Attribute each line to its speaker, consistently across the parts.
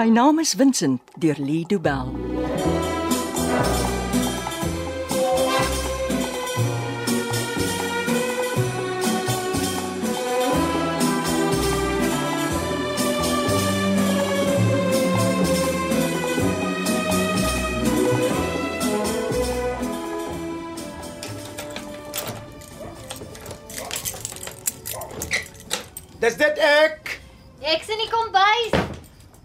Speaker 1: My naam is Vincent deur Lee Du Bell.
Speaker 2: Dis dit ek.
Speaker 3: Ek's in die kombuis.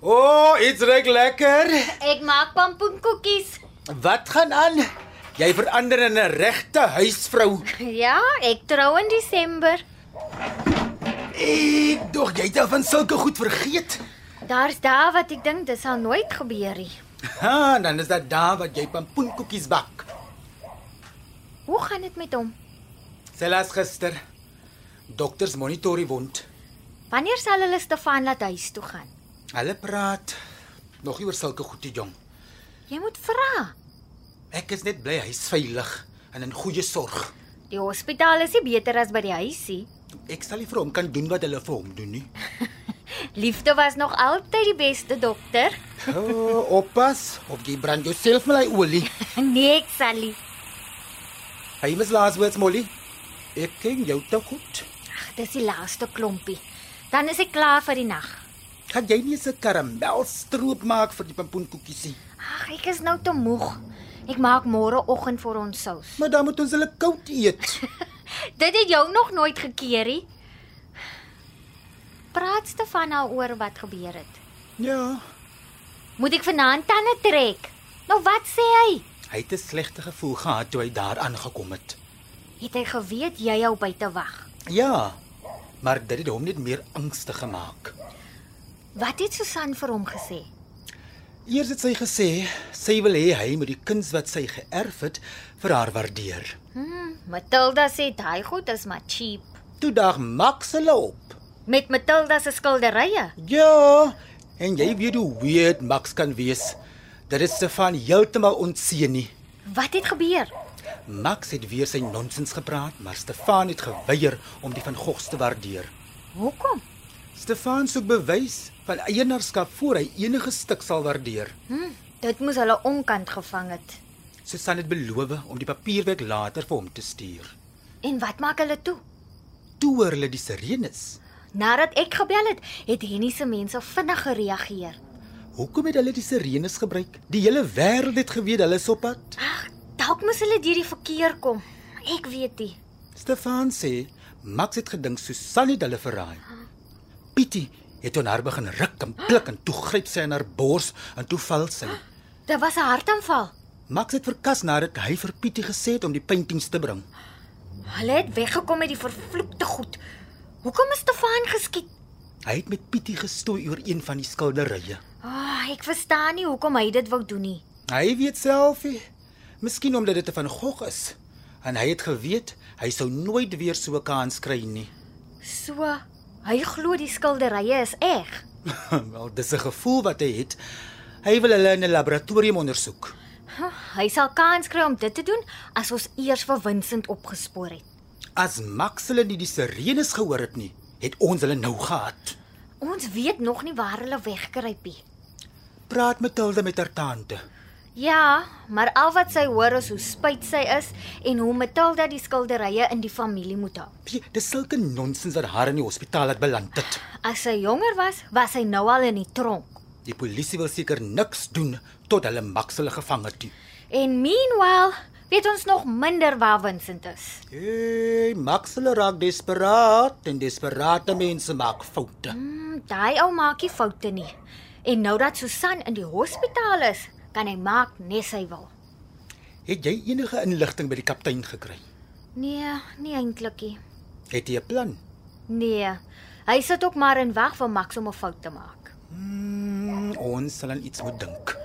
Speaker 2: O, oh, iets reuk lekker.
Speaker 3: Ek maak pampoenkoekies.
Speaker 2: Wat gaan aan? Jy verander in 'n regte huisvrou.
Speaker 3: Ja, ek trou in Desember.
Speaker 2: Ek dog jy het al van sulke goed vergeet.
Speaker 3: Daar's dae wat ek dink dit sal nooit gebeur nie.
Speaker 2: Ha, dan is dit daar wat jy pampoenkoekies bak.
Speaker 3: Hoe gaan dit met hom?
Speaker 2: Selfs gister. Dokters monitor die wond.
Speaker 3: Wanneer sal hulle Stefan laat huis toe gaan?
Speaker 2: Hulle praat nog nie oor sulke goed te jong.
Speaker 3: Jy moet vra.
Speaker 2: Ek is net bly hy's veilig en in goeie sorg.
Speaker 3: Die hospitaal is nie beter as by die huisie.
Speaker 2: Ek sal nie vir hom kan doen wat hulle vir hom doen nie.
Speaker 3: Liefde was nog altyd die beste dokter.
Speaker 2: Oh, oppas of jy brand jouself met hy olie.
Speaker 3: Nee, ek sal nie.
Speaker 2: Hy mis laaswoords Molly. Ek ken jou te goed.
Speaker 3: Ag, dis die laaste klompie. Dan is ek klaar vir die nag.
Speaker 2: Gaan jy nie se karamelstroop maak vir die pampoenkoekies nie?
Speaker 3: Ag, ek is nou te moeg. Ek maak môre oggend vir ons sous.
Speaker 2: Maar dan moet ons hulle koud eet.
Speaker 3: Dit het jou nog nooit gekeer nie. Praat Stefan nou oor wat gebeur het.
Speaker 2: ja.
Speaker 3: Moet ek vanaand tande trek? Nou wat sê hy?
Speaker 2: Hy het 'n slegte gevoel gehad toe hy daar aangekom het.
Speaker 3: Het hy geweet jy hou by te wag?
Speaker 2: Ja. Maar dit het hom net meer angstig gemaak.
Speaker 3: Wat het Susan vir hom gesê?
Speaker 2: Eers het sy gesê sy wil hê hy moet die kuns wat sy geërf het vir haar waardeer.
Speaker 3: Hm, Matilda sê daai goed is maar cheap.
Speaker 2: Toe dag Max hulle op.
Speaker 3: Met Matilda se skilderye.
Speaker 2: Ja. En jy weet hoe weird Max kan wees. Dit is Stefan heeltemal ontseën nie.
Speaker 3: Wat het gebeur?
Speaker 2: Max het weer sy nonsens gepraat, maar Stefan het geweier om die van Gogs te waardeer.
Speaker 3: Hoekom?
Speaker 2: Stefan soek bewys van eienaarskap voor hy enige stuk sal waardeer.
Speaker 3: Hm, dit moes hulle onkant gevang het.
Speaker 2: Susan het beloof om die papierwerk later vir hom te stuur.
Speaker 3: En wat maak hulle toe?
Speaker 2: Toe hoor hulle die sirenes.
Speaker 3: Nadat ek gebel het, het Henny se mense vinnig gereageer.
Speaker 2: Hoekom het hulle die sirenes gebruik? Die hele wêreld het geweet hulle is op pad.
Speaker 3: Ag, dalk moes hulle deur die verkeer kom. Ek weet nie.
Speaker 2: Stefan sê Max het gedink Susan het hulle verraai. Pietie het aan haar begin ruk en klik en toe gryp sy aan haar bors en toe val sy.
Speaker 3: Dit was 'n hartaanval.
Speaker 2: Max het verkas nadat hy vir Pietie gesê het om die paintings te bring.
Speaker 3: Hulle het weggekom met die vervloekte goed. Hoekom is Stefan geskiet?
Speaker 2: Hy het met Pietie gestoei oor een van die skilderye.
Speaker 3: Ah, oh, ek verstaan nie hoekom hy dit wou doen nie.
Speaker 2: Hy weet selfie. Miskien omdat dit 'n van Gogh is en hy het geweet hy sou nooit weer so 'n kans kry nie.
Speaker 3: So, hy glo die skilderye is eg.
Speaker 2: Wel, dis 'n gevoel wat hy het. Hy wil hulle in 'n laboratorium ondersoek.
Speaker 3: Huh, Hy sal kans kry om dit te doen as ons eers vir Vincent opgespoor het.
Speaker 2: As Max hulle nie die sirenes gehoor het nie, het ons hulle nou gehad.
Speaker 3: Ons weet nog nie waar hulle wegkruip nie.
Speaker 2: Praat met Tilda met haar tante.
Speaker 3: Ja, maar al wat sy hoor is hoe spyt sy is en hoe Matilda die skilderye in die familie moet hou.
Speaker 2: Weet jy, Dis sulke nonsens wat haar in die hospitaal het beland het.
Speaker 3: As sy jonger was, was sy nou al in die tronk.
Speaker 2: Die polisie wil seker niks doen tot hulle Max hulle gevang het. nie.
Speaker 3: En meanwhile, weet ons nog minder waar Vincent is.
Speaker 2: Hey, Max hulle raak desperaat en desperate mense maak foute.
Speaker 3: Hmm, daai ou maak nie foute nie. En nou dat Susan in die hospitaal is, kan hy maak nes hy wil.
Speaker 2: Het jy enige inligting by die kaptein gekry?
Speaker 3: Nee, nie eintlik nie.
Speaker 2: Het hy 'n plan?
Speaker 3: Nee. Hy sit ook maar en wag vir Max om 'n fout te maak.
Speaker 2: Hmm, ons sal aan iets moet dink.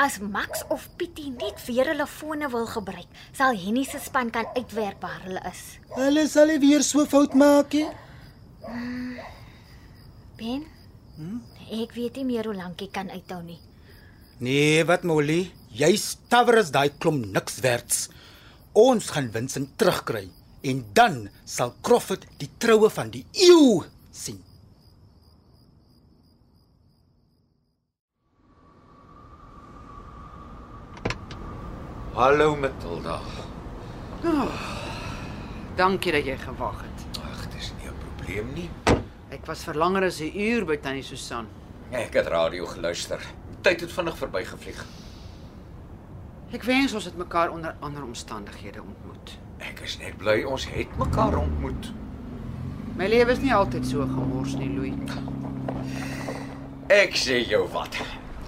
Speaker 3: As Max of Pietie net weer hulle fone wil gebruik, sal Henny se span kan uitwerk waar hulle is.
Speaker 2: Hulle sal nie weer so fout maak nie.
Speaker 3: Ben? Hm? Ek weet nie meer hoe lank ek kan uithou nie.
Speaker 2: Nee, wat Molly? Jy stawer is daai klomp niks werds. Ons gaan Vincent terugkry en dan sal Crawford die troue van die eeu sien.
Speaker 4: Hallo Matilda.
Speaker 5: Dankie dat jy gewag het.
Speaker 4: Ag, dis nie 'n probleem nie.
Speaker 5: Ek was vir langer as 'n uur by tannie Susan.
Speaker 4: Ek het radio geluister. Tyd het vinnig verbygevlieg.
Speaker 5: Ek wens ons het mekaar onder ander omstandighede ontmoet.
Speaker 4: Ek is net bly ons het mekaar ontmoet.
Speaker 5: My lewe is nie altyd so gemors nie, Louis.
Speaker 4: Ek sê jou wat.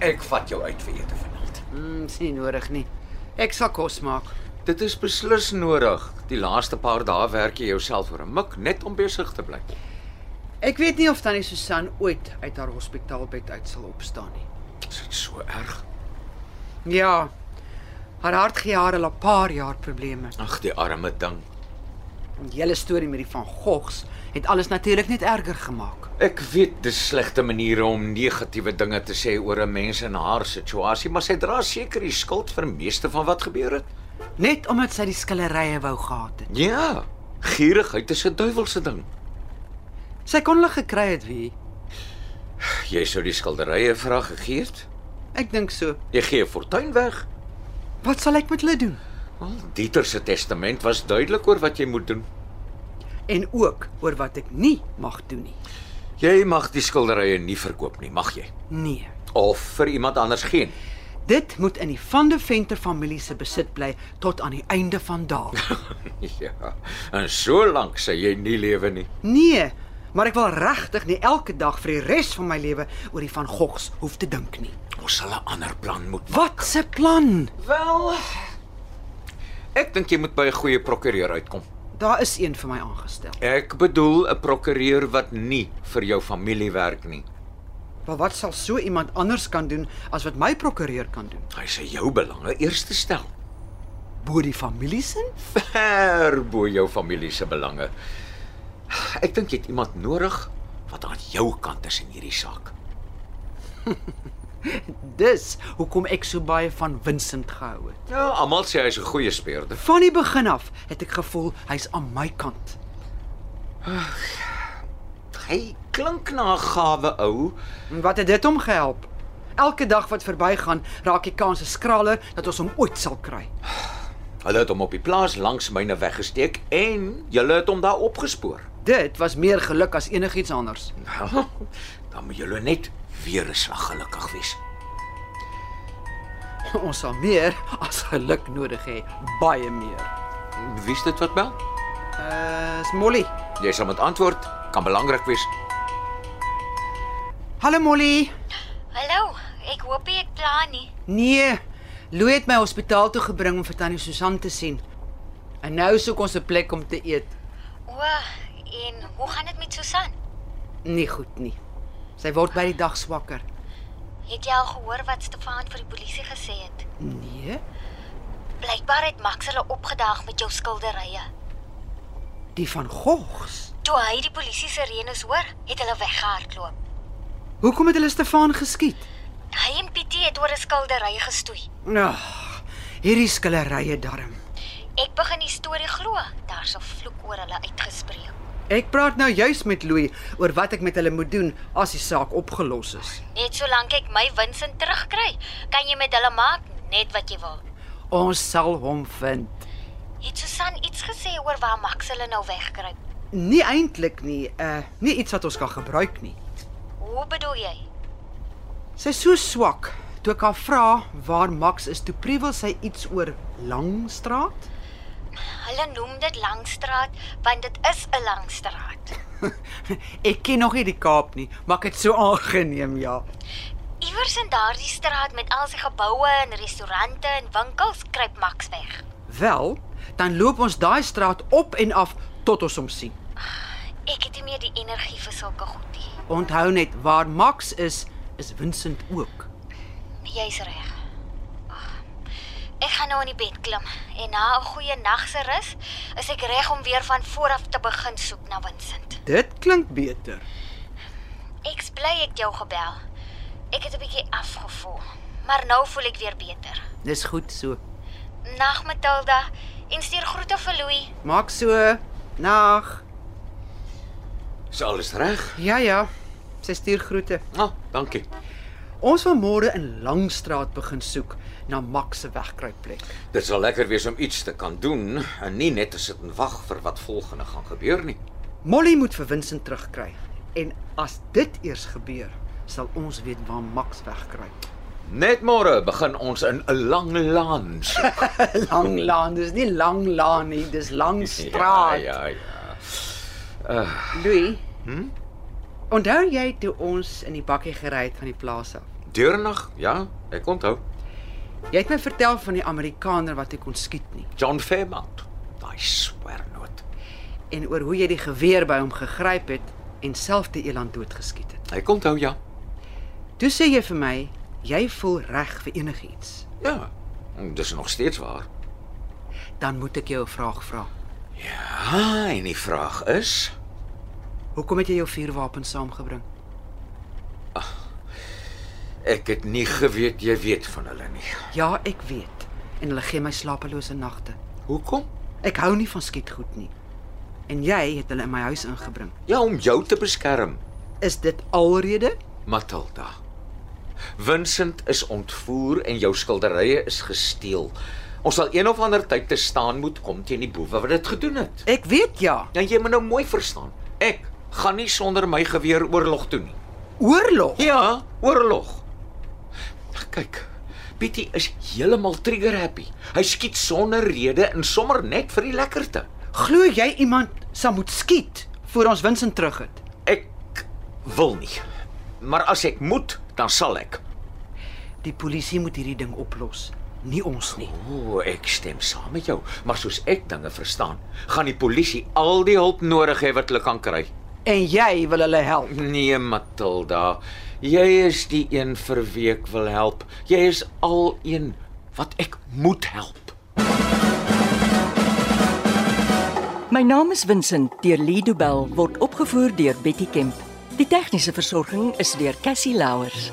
Speaker 4: Ek vat jou uit vir ete vanaand.
Speaker 5: Mm, dis nie nodig nie. Ek sal kos maak.
Speaker 4: Dit is beslis nodig. Die laaste paar dae werk jy jouself vir 'n mik net om besig te bly.
Speaker 5: Ek weet nie of tannie Susan ooit uit haar hospitaalbed uit sal opstaan nie.
Speaker 4: Is dit so erg?
Speaker 5: Ja. Haar hart gee haar al 'n paar jaar probleme.
Speaker 4: Ag, die arme ding.
Speaker 5: Die hele storie met die van Gogs het alles natuurlik net erger gemaak.
Speaker 4: Ek weet dis slegte maniere om negatiewe dinge te sê oor 'n mens in haar situasie, maar sy dra seker die skuld vir meeste van wat gebeur het.
Speaker 5: Net omdat sy die skillerye wou gehad het.
Speaker 4: Ja, gierigheid is 'n duiwelse ding.
Speaker 5: Sy kon hulle gekry het wie.
Speaker 4: Jy sou die skilderye vra gegee het.
Speaker 5: Ek dink so.
Speaker 4: Jy gee 'n fortuin weg.
Speaker 5: Wat sal ek met hulle doen?
Speaker 4: Wel, Dieter se testament was duidelik oor wat jy moet doen.
Speaker 5: En ook oor wat ek nie mag doen nie.
Speaker 4: Jy mag die skilderye nie verkoop nie, mag jy?
Speaker 5: Nee.
Speaker 4: Of vir iemand anders gee. nie.
Speaker 5: Dit moet in die Van de Venter familie se besit bly tot aan die einde van dae.
Speaker 4: Ja. En so lank sê jy nie lewe nie.
Speaker 5: Nee, maar ek wil regtig nie elke dag vir die res van my lewe oor die van Gogs hoef te dink nie.
Speaker 4: Ons sal 'n ander plan moet maak.
Speaker 5: Wat se plan?
Speaker 4: Wel, ek dink jy moet by 'n goeie prokureur uitkom.
Speaker 5: Daar is een vir my aangestel.
Speaker 4: Ek bedoel 'n prokureur wat nie vir jou familie werk nie.
Speaker 5: Maar wat sal so iemand anders kan doen as wat my prokureur kan doen?
Speaker 4: Hy sê jou belange eers te stel,
Speaker 5: Bo die familie se?
Speaker 4: ver bo jou familie se belange. Ek dink jy het iemand nodig wat aan jou kant is in hierdie saak.
Speaker 5: Dis hoekom ek so baie van Vincent gehou het.
Speaker 4: Ja, almal sê hy's 'n goeie speurder.
Speaker 5: Van die begin af het ek gevoel hy's aan my kant.
Speaker 4: Hy klink na 'n gawe ou.
Speaker 5: En wat het dit hom gehelp? Elke dag wat verbygaan, raak die kans skraler dat ons hom ooit sal kry.
Speaker 4: Hulle het hom op die plaas langs myne weggesteek en hulle het hom daar opgespoor.
Speaker 5: Dit was meer geluk as enigiets anders.
Speaker 4: Nou, dan moet julle net weer 'n slag gelukkig wees.
Speaker 5: Ons sal meer as geluk nodig hê, baie meer.
Speaker 4: Wie's dit wat bel?
Speaker 5: Uh, Smolly.
Speaker 4: Jy sal met antwoord kan belangrik wees.
Speaker 5: Hallo Molly.
Speaker 3: Hallo, ek hoop jy het klaar nie.
Speaker 5: Nee, Louis het my hospitaal toe gebring om vir tannie Susan te sien. En nou soek ons 'n plek om te eet.
Speaker 3: O, en hoe gaan dit met Susan?
Speaker 5: Nie goed nie. Sy word by die dag swakker.
Speaker 3: Het jy al gehoor wat Stefan vir die polisie gesê het?
Speaker 5: Nee,
Speaker 3: Blykbaar het Max hulle opgedaag met jou skilderye.
Speaker 5: die van Gogs.
Speaker 3: Toe hy die polisie sirenes hoor, het hulle weggehardloop.
Speaker 5: Hoekom het hulle Stefan geskiet?
Speaker 3: Hy en Pietie het oor 'n skildery gestoei.
Speaker 5: Ag, Nou, hierdie skillerye darm.
Speaker 3: Ek begin die storie glo. Daar's 'n vloek oor hulle uitgespreek.
Speaker 5: Ek praat nou juis met Louis oor wat ek met hulle moet doen as die saak opgelos is.
Speaker 3: Net solank ek my winsin terugkry, kan jy met hulle maak net wat jy wil.
Speaker 5: Ons sal hom vind.
Speaker 3: Het Susan iets gesê oor waar Max hulle nou wegkruip?
Speaker 5: Nie eintlik nie, uh nie iets wat ons kan gebruik nie.
Speaker 3: Hoe bedoel jy?
Speaker 5: Sy's so swak. Toe ek haar vra waar Max is, toe prewel sy iets oor Langstraat.
Speaker 3: Hulle noem dit Langstraat want dit is 'n lang straat.
Speaker 5: ek ken nog nie die Kaap nie, maar ek het so aangeneem, ja.
Speaker 3: Iewers in daardie straat met al sy geboue en restaurante en winkels kruip Max weg.
Speaker 5: Wel, dan loop ons daai straat op en af tot ons hom sien.
Speaker 3: Ek het nie meer die energie vir sulke goed nie.
Speaker 5: Onthou net waar Max is, is Vincent ook.
Speaker 3: Jy's reg. Ag, Ek gaan nou in die bed klim en na 'n goeie nag se rus is ek reg om weer van voor af te begin soek na Vincent.
Speaker 5: Dit klink beter.
Speaker 3: Ek's bly ek jou gebel. Ek het 'n bietjie afgevoel, maar nou voel ek weer beter.
Speaker 5: Dis goed so.
Speaker 3: Nag Matilda en stuur groete vir Louis.
Speaker 5: Maak so. Nag.
Speaker 4: Is alles reg?
Speaker 5: Ja ja. Sy stuur groete.
Speaker 4: Ah, dankie.
Speaker 5: Ons wil môre in Langstraat begin soek na Max se wegkruipplek.
Speaker 4: Dit sal lekker wees om iets te kan doen en nie net te sit en wag vir wat volgende gaan gebeur nie.
Speaker 5: Molly moet vir Vincent terugkry. En as dit eers gebeur, sal ons weet waar Max wegkruip.
Speaker 4: Net môre begin ons in 'n lang laan soek.
Speaker 5: Lang laan, dis nie lang laan nie, dis lang straat.
Speaker 4: Ja, ja, ja.
Speaker 5: Louis. Hm? Onthou jy toe ons in die bakkie gery het van die plaas af?
Speaker 4: Deurnag, ja, ek onthou.
Speaker 5: Jy het my vertel van die Amerikaner wat ek kon skiet nie
Speaker 4: John Fairmount. Daai swernoot.
Speaker 5: en oor hoe jy die geweer by hom gegryp het en self te eland doodgeskiet het.
Speaker 4: Ek onthou ja.
Speaker 5: Toe sê jy vir my, jy voel reg vir enigiets.
Speaker 4: Ja. en Dis nog steeds waar.
Speaker 5: Dan moet ek jou 'n vraag vra.
Speaker 4: Ja, en die vraag is,
Speaker 5: Hoekom het jy jou vuurwapen saamgebring?
Speaker 4: ek het nie geweet jy weet van hulle nie.
Speaker 5: Ja, ek weet. En hulle gee my slapelose nagte.
Speaker 4: Hoekom?
Speaker 5: Ek hou nie van skietgoed nie. En jy het hulle in my huis ingebring.
Speaker 4: Ja, om jou te beskerm,
Speaker 5: Is dit alrede?
Speaker 4: Matilda. Vincent is ontvoer en jou skilderye is gesteel. Ons sal een of ander tyd te staan moet kom teen die boewe wat dit gedoen het.
Speaker 5: Ek weet ja.
Speaker 4: Nou jy moet nou mooi verstaan. Ek gaan nie sonder my geweer oorlog toe nie.
Speaker 5: Oorlog.
Speaker 4: Ja, oorlog. Kyk. Pietie is heeltemal trigger happy. Hy skiet sonder rede en sommer net vir die lekkerte.
Speaker 5: Glo jy iemand sal moet skiet voor ons Vincent terug het?
Speaker 4: Ek wil nie. Maar as ek moet, dan sal ek.
Speaker 5: Die polisie moet hierdie ding oplos, nie ons nie.
Speaker 4: O, oh, ek stem saam met jou, maar soos ek dinge verstaan, gaan die polisie al die hulp nodig hê wat hulle kan kry.
Speaker 5: En jy wil hulle help.
Speaker 4: Nee, Matilda, jy is die een vir wie ek wil help. Jy is al een wat ek moet help.
Speaker 1: My naam is Vincent deur Lido Bell word opgevoer deur Betty Kemp. Die tegniese versorging is deur Cassie Louers.